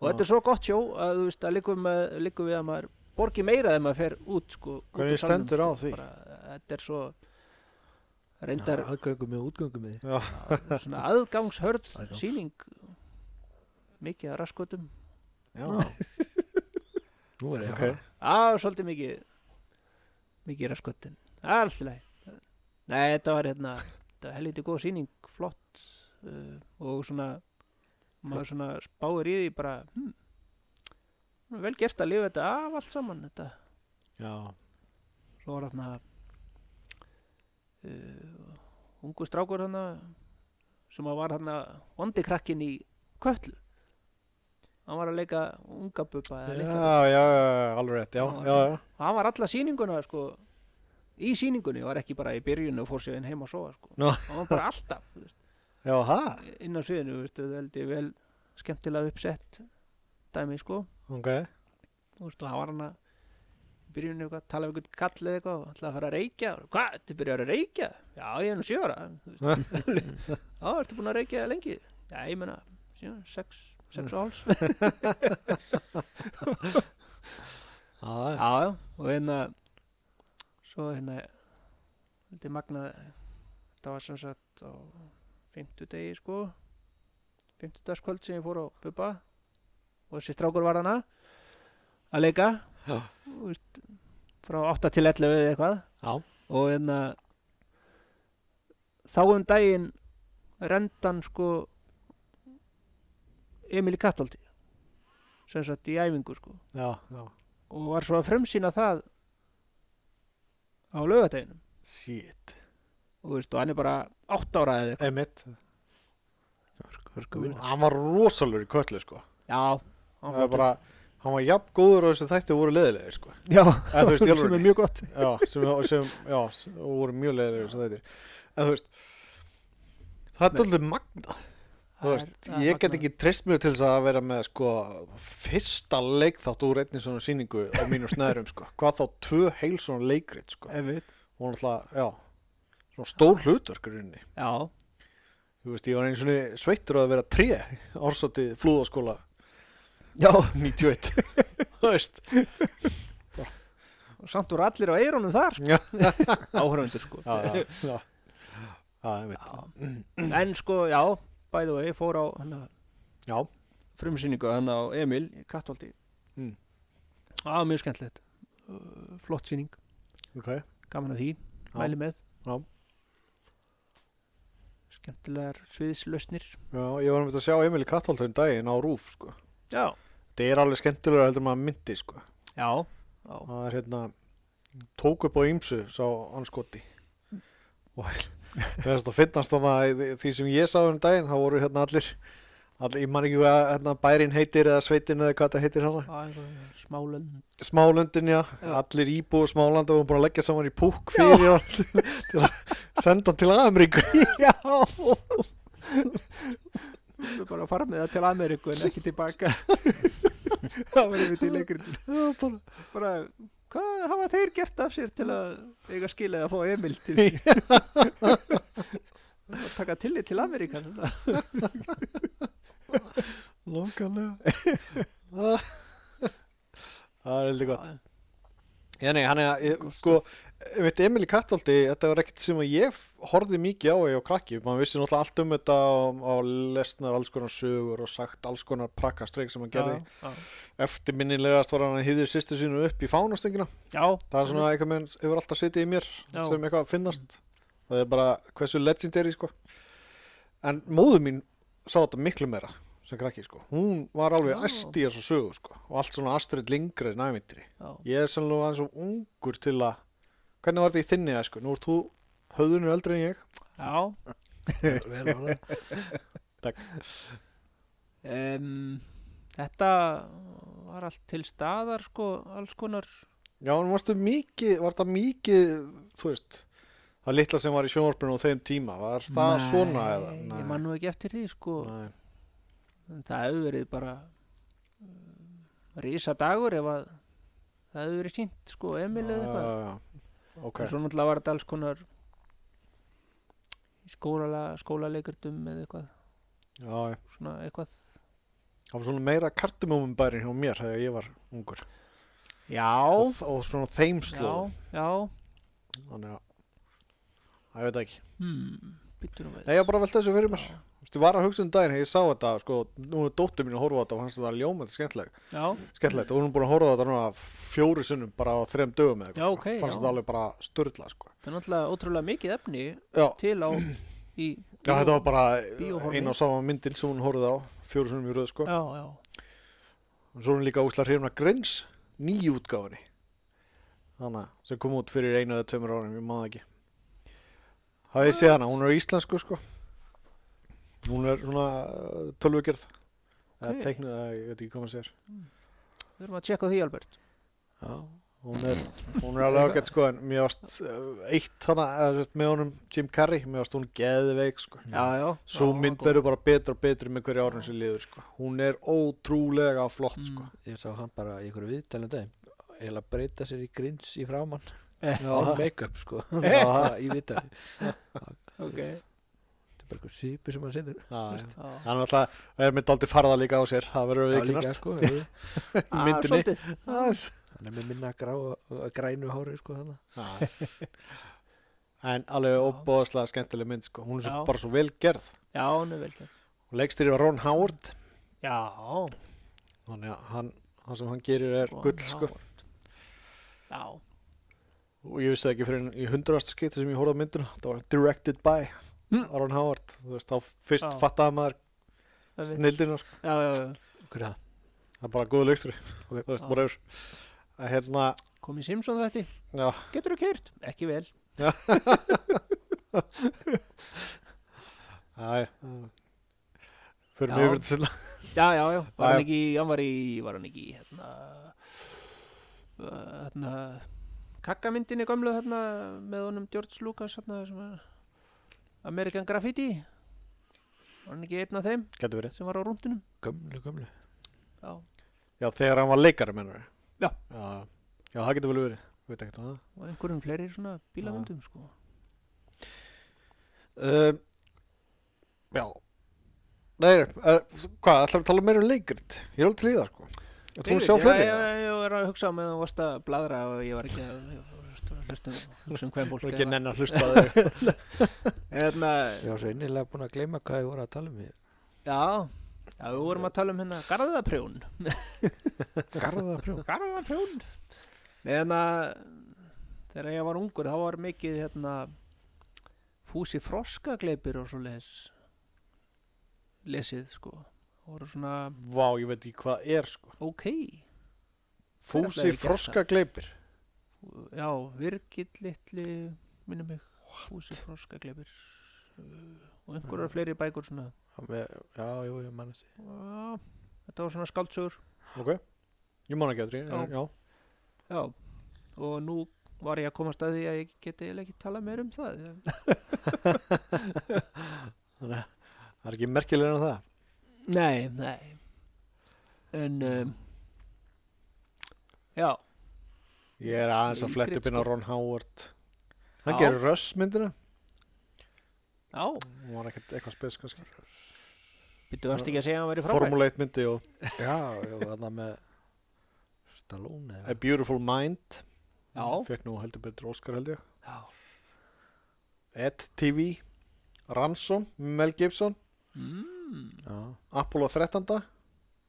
og
Já.
þetta er svo gott sjó að þú veist að liggum, með, liggum við að maður borgi meira þegar maður fer út sko út úr
hvernig
salnum, sko.
stendur á því?
bara, þetta er svo reyndar
aðgöngum með útgöngum með
Já,
svona aðgangshörð
Aðgangs.
síning mikið að raskotum
já.
nú er ég
Ok.
á, svolítið mikið mikið raskotin, allt í lagi nei, þetta var hérna þetta var helviti góð síning, flott uh, og svona maður svona spáir í því bara hm, svona vel gert að lifa þetta af allt saman þetta
Já,
svo var þarna uh, ungu strákur þarna sem að var þarna vondi krakkin í köllu hann var að leika unga bubba
já,
eða litla bubba.
já, já, alveg rétt, já, já, já.
og hann var alla sýninguna sko í sýningunni, var ekki bara í byrjun og fór sér inn heim og sofa sko.
Nú.
hann var bara alltaf þú veist,
Já, það,
inn á sviðinu, þú veist, það held ég vel skemmtilega uppsett dæmi sko
ok.
Þú veist, og hann var hann að í byrjunni eitthvað, tala við einhvern kall eða eitthvað og ætlaði að fara að reykja, hvað, þetta byrjar að reykja já, ég er nú sjöra já, ertu búin að reykja lengi já, ég meina, síðan, sex sex og háls já,
Já, það er-
já, og hérna svo hérna þetta er magnað þetta var sem sagt á fimmtudegi sko fimmtudagskvöld sem ég fór á bubba og þessi strákur var hana að leika
Já.
Þú veist, frá 8 til 11 eða eitthvað
já,
og hérna þá um daginn rendan sko Emil í Kattolti sem sagt í æfingu sko
já, já.
og var svo að fremsýna það á laugardeginum
Shit.
og, veist, og hann er bara 8 ára eða eitthvað
Emitt,
hörku, hörku vinna
hann var rosalur í köllu, sko.
já, hann
Það er
var
bara, hann var jafn góður og þessi þætti voru leðilegir, sko.
já,
En þú veist, í
sem
alvörunni.
er mjög gott
Já, sem, og sem, já, sem og voru mjög leðilegir sem þættir. En þú veist, það er alveg magna. Þú veist, ég get ekki treyst mjög til þess að vera með sko fyrsta leikþátt úr einni svona sýningu á mínum snæðurum sko. Hvað þá tvö heil svona leikrit sko.
Einmitt.
Og náttúrulega, já, svona stór hlutur grunni.
Já,
Þú veist, ég var einu svona sveittur á að vera tré ársatið flúðaskóla
já,
91. Þú veist,
og samt voru allir á eirónum þar
já,
áhraundur sko
já, já, já, já, ég veit,
en sko, já, by the way fór á hana,
já,
frumsýningu hann á Emil í Kattolti
Mm.
á mjög skemmtilegt Uh, flott sýning,
ok,
gaman að því mæli með
Já.
skemmtilegar sviðislausnir
já, ég var með að sjá Emil í Kattholtun daginn á Rúf sko.
já,
Þetta er alveg skemmtilega heldur en maður myndi sko.
já,
það er hérna tók upp á ýmsu sá anskoti og það er þetta finnast þannig að því sem ég sá um daginn þá voru hérna allir, allir ég man ekki hvað hérna, bærin heitir eða sveitin eða hvað það heitir hana
já einhver smálönd
smálöndin já,
Já.
allir íbúið smálanda og búin að leggja saman í púk fyrir já. til að senda hann til Ameríku
já við erum bara að fara með það til Ameríku en ekki tilbaka þá verðum við til lengri
Já, bara-
bara, hvað hafa þeir gert af sér til að eiga skilið að fá Emil til að taka tillit til Ameríkan
Lókanlega Það er heldur gott
Já,
Já nei, hann er að, ég- sko ég veit, Emil í Kattolti, þetta var ekkert sem að ég horfði mikið á því á krakki maður vissi náttúrulega allt um þetta og, og lesnar alls konar sögur og sagt alls konar prakkastreik sem hann gerði
já.
eftirminnilegast var hann að hýðir sýstu sínu upp í fánastöngina
já,
það er svona eitthvað meðan hefur alltaf sitið í mér
Já.
sem eitthvað að finnast það er bara hversu legendary sko en móður mín sá þetta miklu meira sem krakki sko hún var alveg
Já.
æst í þessu sögu sko og allt svona Astrid Lindgren næmyndri
já,
ég er sannlega aðeins og ungur til að hvernig var þetta í þinni að sko nú ert þú höfðunur eldri en ég
já.
Vel var það.
Um, þetta var allt til staðar sko, alls konar
já en varstu mikið var þetta mikið þú veist það litla sem var í sjónvarpinu á þeim tíma var það svona eða
Nei, ég man nú ekki eftir því sko
nei,
En það hefur verið bara um, risadagur ef að það hefur verið sínt sko, Emil eða eitthvað
Já, já, já. Ah, ok
og svo náttúrulega var þetta alls konar í skóla, skólaleikertum eða eitthvað,
já, já
svona eitthvað
Það var svona meira kartumumum bærin hjá mér þegar ég var ungur
já,
og, og svona þeim
já,
slóð
já
þannig að það veit það ekki
hmm, býttu nú við
Nei, ég var bara að velta þessu fyrir mér Þú veist, ég var að hugsa um daginn þegar ég sá þetta sko, nú er dóttir mín að horfa á þetta og hans það er ljómandi skemmtileg
já,
skemmtilegt og hún er búin að horfa á þetta núna fjóri sunnum bara á þrem dögum eða
Já,
eitthvað,
ok,
sko.
já.
fannst þetta alveg bara störla sko.
það er náttúrulega ótrúlega mikið efni
já,
til á í
já, þetta var bara
bíóhorfi.
eina og sama myndin sem hún horfði á fjóri sunnum í röð sko.
já, já,
og svo er hún líka úsla hrifna grins nýjútgáfinni þannig að sem kom út fyrir einu eða tveimur árum, ég maður ekki hafið séð hana, hún er íslensku sko hún er svona uh, tölvugerð eða
Ok.
teiknuð, eða ég veit ekki hvað maður sér
við erum að tjekka á því Albert
Já.
hún er, hún er alveg ágætt sko en mér varst uh, eitt hana eða, sérst, með honum Jim Carrey, mér varst hún geðveik sko
já, já,
svo
já,
mynd
góð.
verður bara betur og betur með hverju árun sem liður sko hún er ótrúlega flott sko
Mm,
Ég sá hann bara í einhverju viðtælum daginn. Eða breyta sér í grins í framann.
Eh.
Án make-up sko.
Já.
Já, í viðtæli.
Mm, ok,
Þetta er bara eitthvað sýpi sem hann setur.
Já,
já
Hann er alltaf, er með daldi farða líka á sér, það verður við
Já,
ekki
líka,
næst
sko, jú.
í
Ah,
myndinni.
svolítið.
Aðeins.
Hann er með minna grá, grænu hári sko þannig.
En alveg óbóðslega skemmtileg mynd, sko. Hún er svo,
Já.
bara svo vel gerð.
já, hann er vel gert.
Og leikstýri var Ron Howard,
já,
þannig að hann, það sem hann gerir er
Ron
gull, sko.
Howard. já,
Og ég vissi það ekki fyrir en í hundraðasta skipti sem ég horfði á myndina, það var directed by
Mm.
Ron Howard. Þú veist, þá fyrst
Já.
fattaði maður
það er-
snildina, sko.
já, já, já,
Hver er það?
Það er bara góð leikstýri,
Ok.
þú veist,
Já.
bara yfir. Að hérna,
komið Simpson þetta
já,
getur þú kert, ekki vel
já, já. Fyrir
Já.
mjög verið til
Já, já, já, var
Já,
hann
já.
ekki, hann var í, var hann ekki, í, hérna, uh, hérna, kakkamyndinni gömlu, hérna, með honum George Lucas, hérna, sem að, American Graffiti, Var hann ekki einn af þeim
getur verið
sem var á rúndunum?
Gömlu, gömlu.
Já.
já, þegar hann var leikari mennur
Já.
já, já, það getur vel verið Ég veit ekkert um það.
Og einhverjum fleiri svona bílamöndum, sko. Ehm,
Um, já nei, er, hvað, ætlar við að tala meira um leikrit ég er alveg til í það sko Þú búin að sjá
Ég-
fleiri
Ég,
eða?
ég, ég var að hugsa á meðan þú varst að bladra og ég var ekki að ég var að hlusta um- hugsa um hvern
Þú
fólk.
er ekki nenn að hlusta á þig
Eðna,
Ég var svo innilega búin að gleyma hvað þið voru að tala um ég.
já, já, við vorum að tala um hérna Garðaprjón.
Garðaprjón.
Garðaprjón? Nei, hérna, þegar ég var ungur þá var mikið hérna fúsi froskagleipir og svo les lesið, sko. Það voru svona,
vá, ég veit ekki hvað er sko
ok,
fúsi
Hvernig hefur gert
froska gleipir
já, virkill litli, minni mig, fúsi froskagleipir og einhverjar fleiri bækur svona.
Já, með- já, jú, ég mannast því.
Já, þetta var svona skáldsögur.
ok, ég man ekki að því
Já.
en- já,
Já, og nú var ég að komast að því að ég geti eiginlega ekki talað meir um það.
það er ekki merkilega en það
Nei, nei. En, um, já,
ég er aðeins að fletta
Leikrit,
upp inn á Ron Howard hann
sko. Já.
gerir röss myndina
já,
hún var ekkert eitthvað spes kannski
býttu varst ekki að segja að hann væri frábær.
Formule 1 myndi og
Já, ég var þarna með Stallone
A
eða.
Beautiful Mind
Já,
fekk nú heldur betur Óskar held ég
já,
Ed TV Ransom, Mel Gibson
mm,
Já,
Apollo 13 það var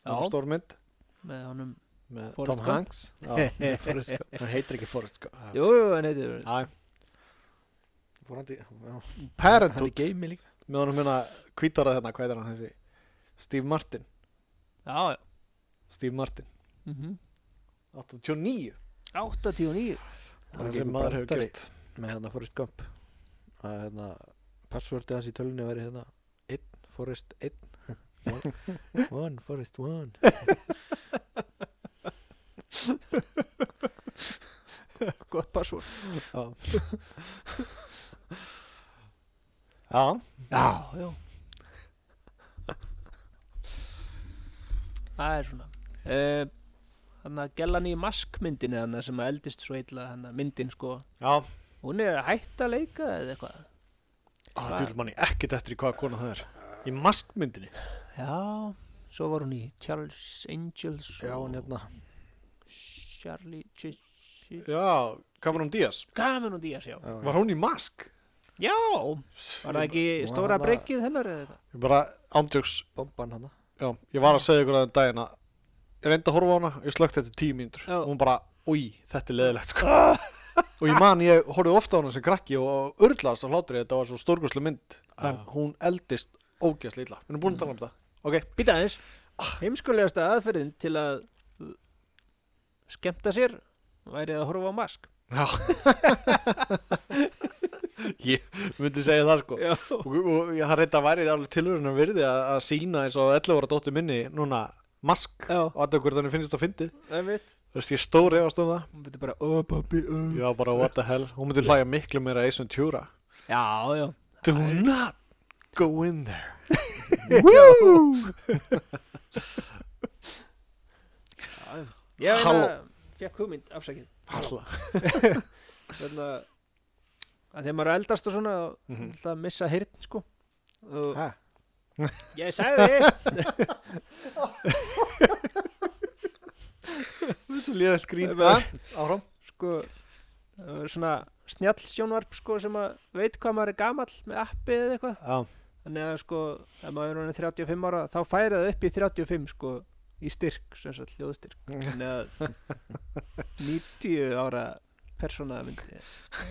já,
stór mynd
með honum.
með
Forrest
Tom
Gump.
Hanks Já,
með Forrest Gump.
hann heitir ekki Forrest Gump. Já.
Jú, jú, en heitir,
Æ,
Fór hann til- já. Hann í
Parenthood
geimi líka.
með honum hérna kvítarað hérna hvað er hann hansi Steve Martin
já, já,
Steve Martin
mm
89
89,
Hann
það sem
leikur
maður hefur
brandari.
gert
Með hérna Forrest Gump. Að hérna, passvörtið hans í tölunni væri hérna 1, Forrest 1. 1, Forrest 1.
gott passvort.
já já
Já, já. Það er svona. Uh, þannig að gellan í maskmyndinni þannig sem að eldist svo illa þannig myndin sko,
já
hún er að hætta að leika eða eitthvað.
Á,
Hvað?
þú vil Ah, manni ekkert eftir í hvaða kona það er í maskmyndinni
Já, svo var hún í Charles Angels
Já,
og
hann hérna.
Charlie Ch Ch
já Cameron Diaz
Cameron Diaz, já.
Já,
var hún í mask
Já, var það ekki
Hún var
stóra
þarna-
breykið hennar eða eitthvað?
ég bara ándjöks
Bomban hann.
já ég var að segja ykkur að það daginn að ég reyndi að horfa á hana ég slögt þetta tíu mínútur
Já. Ah.
og hún bara úi þetta er leðilegt sko og ég man ég horfði ofta á hana sem krakki og örlaðast á hlátri þetta var svo stórgjóðslu mynd en
Já.
hún eldist ógæsli illa við erum búin að tala um það ok
Býta aðeins,
Ah.
heimskulegasta aðferðin til að uh, skemmta sér væri að horfa á mask.
já ég myndi segja það sko
Já,
og, og ég har reynda værið alveg tilhörunum virði að, að sína eins og 11 ára dóttir minni núna mask
Já.
og alltaf hvort hann finnst að fyndi
það er mitt.
þú veist ég stóri efast um það
Hún byrði bara, oh pabbi, oh.
ég var bara what the hell hún myndi hlæja miklu meira eins og tjúra
Já, já.
do not go in there
Woo! Ég veit
Halló.
að, fekk hugmynd, Hérna, afsækið.
Halla.
Þannig að þegar maður er eldast og svona, mm
Mhm.
það að missa hirtin, sko. Og
Ha?
ég sagði,
þessu líða skrín
Bara-
áfram
sko, það var svona snjall sjónvarp, sko, sem að veit hvað maður er gamall með appi eða eitthvað.
já
Þannig að, sko, ef maður er orðinn 35 ára, þá færi það upp í 35, sko, í styrk, sem sagt, hljóðstyrk. Þannig að 90 ára persóna myndi.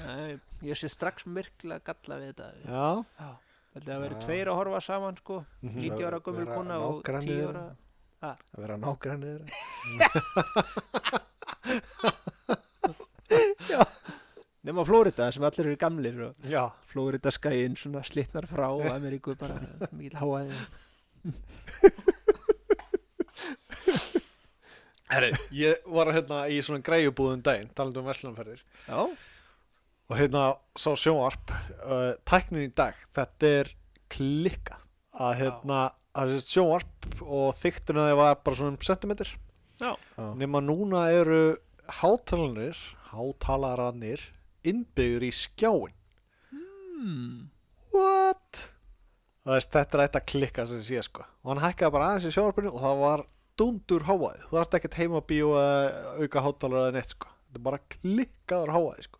Æ, Ég sé strax myrkla galla við þetta.
já
Já. Þetta að vera
Já.
tveir að horfa saman, sko,
Mhm.
90 ára gömul
Vera
kona og
nágranni
10
þeirra.
ára. Ha?
Að vera nágrannir þeirra.
Nefna Flórida, sem allir eru gamlir og
já
Flórida skæinn svona slitnar frá og Ameríku bara mikil háaði.
herri ég var hérna í svona greiðubúðum daginn talandi um veslunumferðir
Já,
og hérna sá sjónvarp uh, tæknin í dag þetta er klikka að hérna, það er sjónvarp og þyktin að það var bara svona um sentimeter
Já.
Já.
nema núna eru hátalarnir hátalarannir innbyggður í skjáin
Hmm.
what? það veist, þetta er ætti að klikka sem sé sko og hann hækkaði bara aðeins í sjónvarpinu og það var dundur háaði þú þarft ekkert heima bíó að auka hátalara eða neitt sko þetta er bara klikkaður háaði sko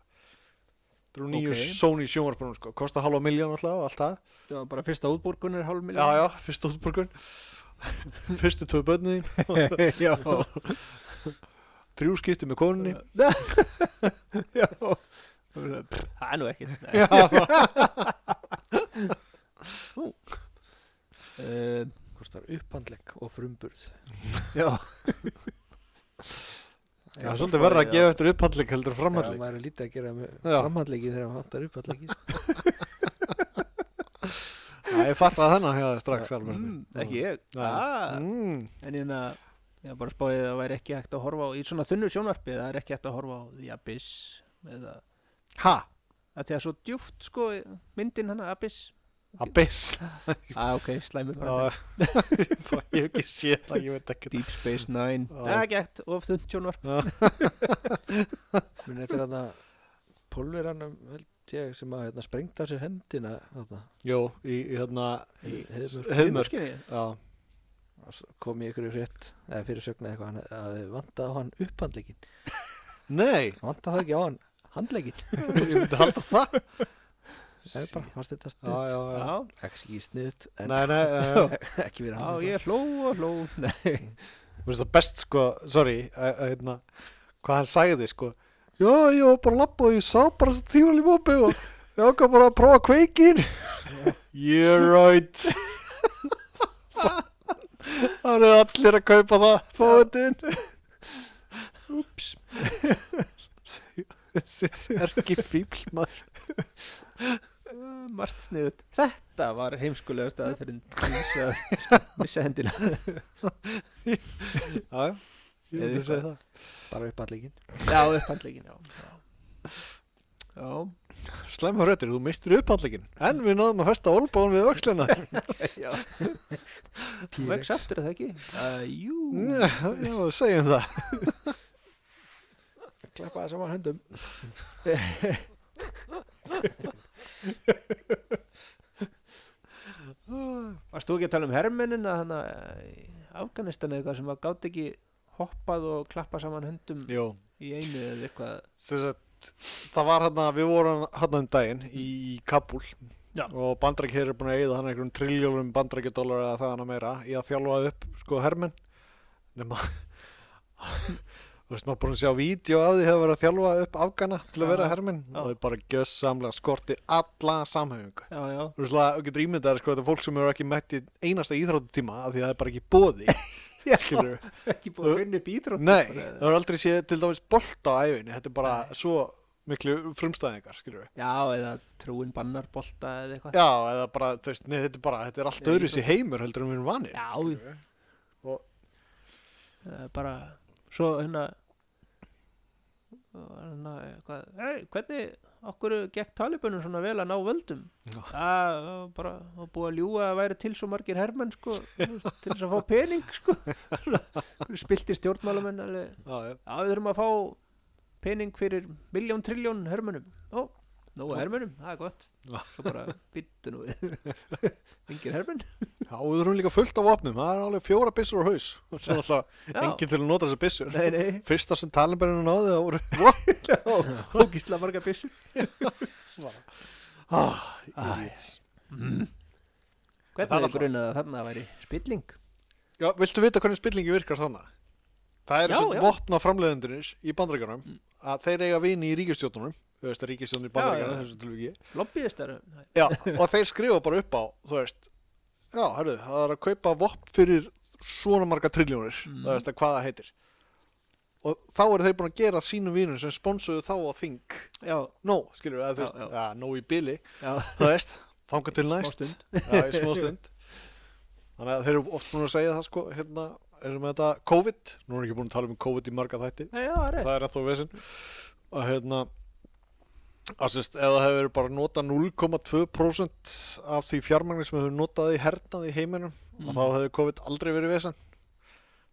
þetta eru nýju
Ok.
Sony sjónvarpinu sko kosta halva miljón alltaf og allt það
Það var bara fyrsta útborgun er hálf
Já, já, fyrst útborgun Fyrstu tvö börnin þín,
já. já.
Þrjú skipti með konunni
já. Það er nú ekkert. nei.
Já,
Uh,
kostar upphandlegg og frumburð
já.
það er svolítið verra að gefa eftir upphandling heldur en
Já,
framhandling
maður er lítið að gera með
Já.
framhandleggi þegar maður vantar upphandleggi
Já, ég fatt að þennan hefði strax alveg
Mm, ekki ég.
Nei.
Ah,
mm.
en ég að ég bara spáði að það væri ekki hægt að horfa á, í svona þunnu sjónvarpi, það er ekki hægt að horfa á The Abyss eða
Ha,
að því að svo djúft sko myndin hana Abyss
abyss
ah, ok, slæmi bara
Já, Ég hef ekki séð það, ég veit ekki
Deep Space Nine
Já.
það er ekki hægt, of þund sjónvarp
Minn þetta er hann að pólveranum held ég sem að hérna, sprengta sér hendina þarna,
Jó, í, í hérna
Heiðmörk.
Heiðmörk
Mörkinni.
Já,
og svo kom ég ykkur í frétt eða fyrir sögna eitthvað hann, að þið vantaði á hann upphandleggin
nei
vantaði það ekki á hann handleggin
Ég myndi halda það
það er bara, fannst þetta
Já,
sniðt
já, já
já,
ekki ekki sniðt, en
Nei, nei, nei, nei.
ekki verið
já,
hann
ég hló og hló nei,
Mér finnst það best sko, sorry, að, að, hérna, hvað hann sagði sko, já, ég var bara að labba og ég sá bara þess að tíma líf oppi og ég ákvað bara að prófa kveikin. You're right. Það eru allir að kaupa það, fóðin. Úps. er ekki fíbl maður.
uh, margt sniðut þetta var heimskulega stað fyrir að missa, missa hendina
Já, já, ég
Eða
myndi að segja
eitthvað.
það.
bara upphandleggin
já, upphandlegin já, já. já,
Slemma röttir, þú mistir upphandlegin. En við náðum að festa olbáðan við öxlina.
já. vex
T-Rex.
aftur er það ekki uh, jú,
Já, já, segjum það.
klappaði saman höndum
varst þú ekki að tala um hermennina þannig að Afganistan eða eitthvað sem að gátt ekki hoppað og klappa saman höndum
Jó.
í einu eða eitthvað
Sem sagt, það var hérna, við vorum hérna um daginn í Kabul
Já.
og bandræk hér er búin að eigða hann einhverjum triljónum bandrækjadólar eða það hana meira í að þjálfa upp sko hermenn nema þú veist maður búin að sjá vídeo af því hefur verið að þjálfa upp afgana til að
Já.
vera hermenn
Já.
og þau bara gjössamlega skorti alla samhæfingu
já, já,
þú veist að ekki drýmið það er sko þetta er fólk sem eru ekki mætt í einasta íþróttutíma af því að það er bara ekki bóði skilur
ekki búið að finna upp íþrótt
Nei, það er aldrei séð til dæmis bolta á æfinni, þetta er bara svo miklu frumstæðingar, skilur við.
já, eða trúin bannar bolta eða eitthvað
Já, eða bara, þú veist, nei, þetta er bara, þetta er allt
Eða
öðru sér heimur heldur en við erum vanir.
já,
Og-
Eh, bara svo hérna var hérna eitthvað, hey, hvernig okkur gekk talibunum svona vel að ná völdum
Já.
það var bara var búið að ljúga að það væri til svo margir hermenn sko, þú veist, til þess að fá pening sko. spilti stjórnmálamenn alveg
Já, já,
Já, við þurfum að fá pening fyrir miljón, trilljón hermönum. Ó, nógu hermönum, það er gott.
Já.
Svo bara byttu nú við. Engir hermön.
já, og við erum líka fullt af opnum, það er alveg fjóra byssur á haus. Og svo alltaf,
Já.
enginn til að nota þessar byssur.
Nei, nei,
Fyrsta sem talinberinu náði, það voru,
ógísla marga byssur.
ah,
Ah,
idiots.
Hvernig
Það er
er
alltaf-
grunnað að þarna væri spilling?
Já, viltu vita hvernig spillingi virkar þannig? Það er
Já,
svona
já. Mm.
vopna framleiðendurins í bandaríkjunum að þeir eiga vini í ríkistjórnunum, þú veist, ríkistjórnun í bandaríkjunum,
já.
þessu tilviki,
Lobbyistar?
Já, og þeir skrifa bara upp á, þú veist, já, herru, það er að kaupa vopn fyrir svona marga trilljónir,
Mm.
þú veist, að hvað það heitir. Og þá eru þeir búin að gera sínum vínum sem sponsuðu þá á Þing.
Já,
Nó, skilur við, þú
Já,
veist,
já.
já, nó í bili,
já.
þú veist, þanga til næst.
Mástund.
Já, í smá stund. Þannig að þeir eru oft búin að segja það, sko, hérna, eins og með þetta COVID, nú erum við ekki búin að tala um COVID í marga þætti,
Já, já, það er rétt.
það er að þó vesinn að hérna að sérst, ef það hefur bara notað 0,2% af því fjármagni sem hefur notað í hernað í heiminum
Mm.
að þá hefur COVID aldrei verið vesen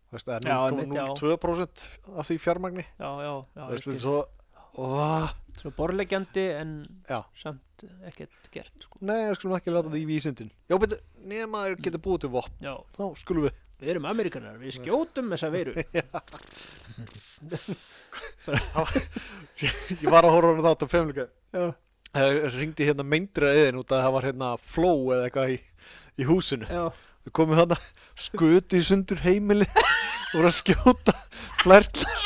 þú veist,
Já, einmitt, já.
eða 0,02% af því fjármagni
já, já, já ég
þú veist, þetta er
skil.
svo oh,
svo borlegjandi en
Já.
samt ekkert gert sko.
nei, við skulum ekki láta þetta í vísindin já, betur, nema þeir getur búið til vopn
já,
þá skulum við
við erum amerikanar, við skjótum þessa veiru
ég var að horfa á þátt á femleika
já,
ringdi hérna meindra eðin út að það var hérna flow eða eitthvað í, í húsinu
já,
Þau komu hann að skutu í sundur heimili og voru að skjóta flertlar.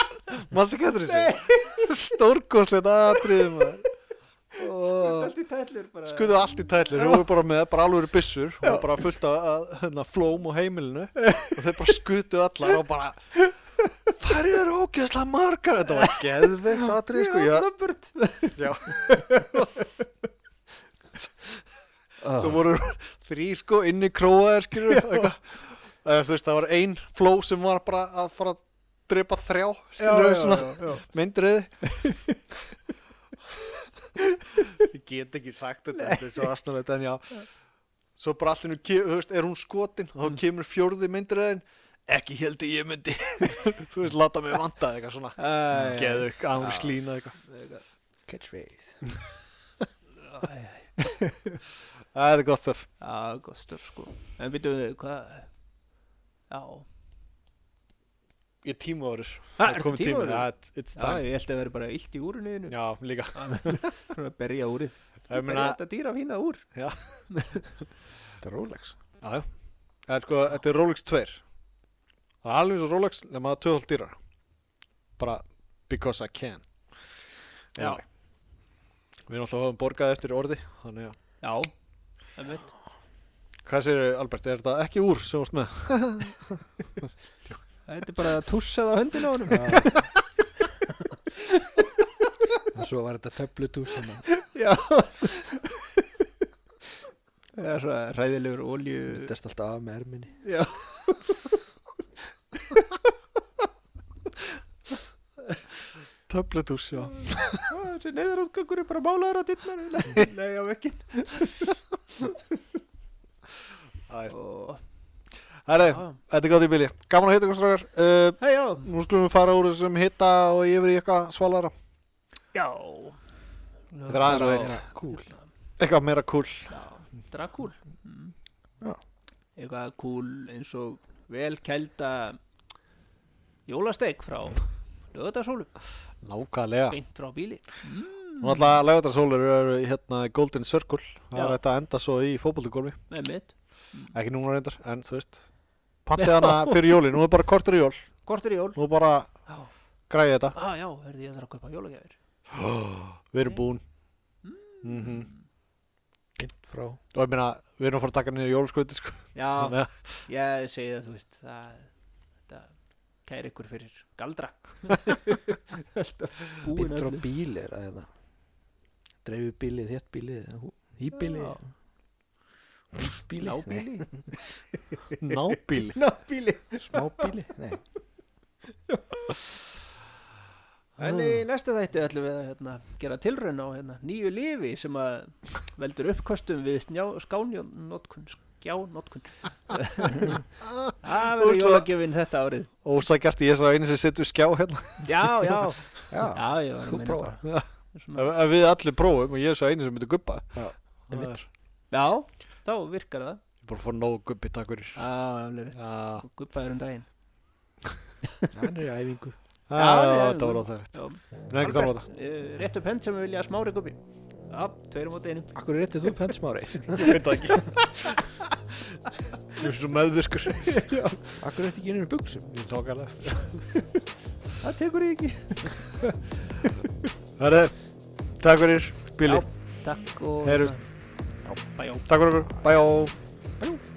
Massa kættur þessu. Stórkoslegt aðriðum.
allt í tællur bara
Skutu allt í tætlir. Þau voru bara með bara alvöru byssur. Þau voru bara fullt af- af hérna, flóm og heimilinu. Og þau bara skutu allar og bara... Það eru ógeðslega margar. Þetta var geðveikt aðrið sko.
já,
Ég,
Lambert
Já Svo voru þrý sko inni króaðir skilur eitthvað Eh, Þú veist það var ein fló sem var bara að fara að drepa þrjá skilur
já,
við svona
já, já.
myndrið Ég get ekki sagt þetta þetta er svo astanlegt en já Mm. Svo bara allt innu, þú veist, er hún skotin og þá kemur fjórði myndriðin ekki heldur ég myndi þú veist, láta mig vanda eitthvað svona
Æ, já.
geðu, annars lína eitthvað
Catchphrase
Æ, æ.
Æ, Það er gott stöf
Já, gott störf sko En býtum við, hvað Já,
Ég
Ha,
tímaður Það
ertu
er komið tíma
tímaður?
Það it's
já
time
ég held að vera bara illt í úrinu þínu
Já, líka
Svona að berja úrið
Ég
Berja
meina
þetta dýra fína úr
Þetta er Rolex
Já, já Það er sko, þetta er Rolex 2 Það er alveg eins og Rolex nema það er töðhald dýrar Bara because I can
Já.
Anyway. Við erum alltaf að hafa borgað eftir orði Þannig að
Já, það veit
Hvað segir Albert, er þetta ekki úr sem vorst með?
Þetta er bara að tússa það á höndinu á honum
En svo var þetta töflutú sem að
Já Það er svona ræðilegur olju
myndast alltaf af með erminni
Já
Töfletús, já
Þessi neyðarútgangur er bara málaður á dittmar Nei, á vekkin
Æ,
Ó,
Herri,
já.
þetta er gott í bili Gaman að hitta ykkur strákar uh,
Hei, já
Nú skulum við fara úr þessum hitta og yfir í eitthvað svalara
Já
Þetta er aðeins og eitt
Cool
Eitthvað meira cool
Já, Drakúl mm.
Já.
Eitthvað kúl eins og vel kælda jólasteik frá lögðarsólu,
Nákvæmlega
beint frá bíli
Og náttúrulega lögutarsólur eru í, hérna í Golden Circle Það
Já.
er þetta að enda svo í fótbollugólfi
með mitt,
Ekki núna reyndar, en þú veist Pantið hana fyrir jóli, nú er bara kortur í jól
kortur í jól
Nú er bara
Já,
græði þetta
ah, já, hörði ég þarf að kaupa jólagjafir
Við erum búin mm
Einn frá
Og ég meina, við erum að fara að taka niður jólaskröti sko.
Já,
Þannig að-
ég segi það, þú veist það, það kæri ykkur fyrir galdra Alltaf búin
Bíl frá
öllu
bíl er að hérna Dreifið bílið, þétt bílið Hýbílið
Já.
Húsbíli Nei,
Nábíli
Nábíli
Nábíli
Smábíli Nei,
En í næsta þætti ætlum við að hérna, gera tilraun á hérna, nýju lifi sem að veldur uppkostum við skjánótkun skjánótkun Það verður
Úrsla.
jólagjöfin þetta árið
Ósækjast ég sá einu sem sittur skjá hérna
Já, já, já,
já,
ég var að
Þú
minna
prófar.
bara
Ef
Svona-
ef við allir prófum og ég sá einu sem myndi guppa Það
einmitt.
er-
Já, þá virkar það
Ég er bara að fá nóg guppi takk fyrir
Já,
Já,
guppaður um daginn
hann er í æfingu
Já,
já, já.
þetta var á það
Já,
Nei, ekki tala um
Albert, eh, rétt upp hend sem við vilja smári guppi Já, tveir á móti einu
Akkur er réttið þú pensmári
Ég veit það ekki Ég er svo meðvirkur
Akkur er þetta ekki einu buksum
Ég tók alveg
Það tekur ég ekki
Herre, takk fyrir Bíli,
Já, Takk og
Heyrumst.
Já, bæjó
takk fyrir okkur Bæjó
Bæjó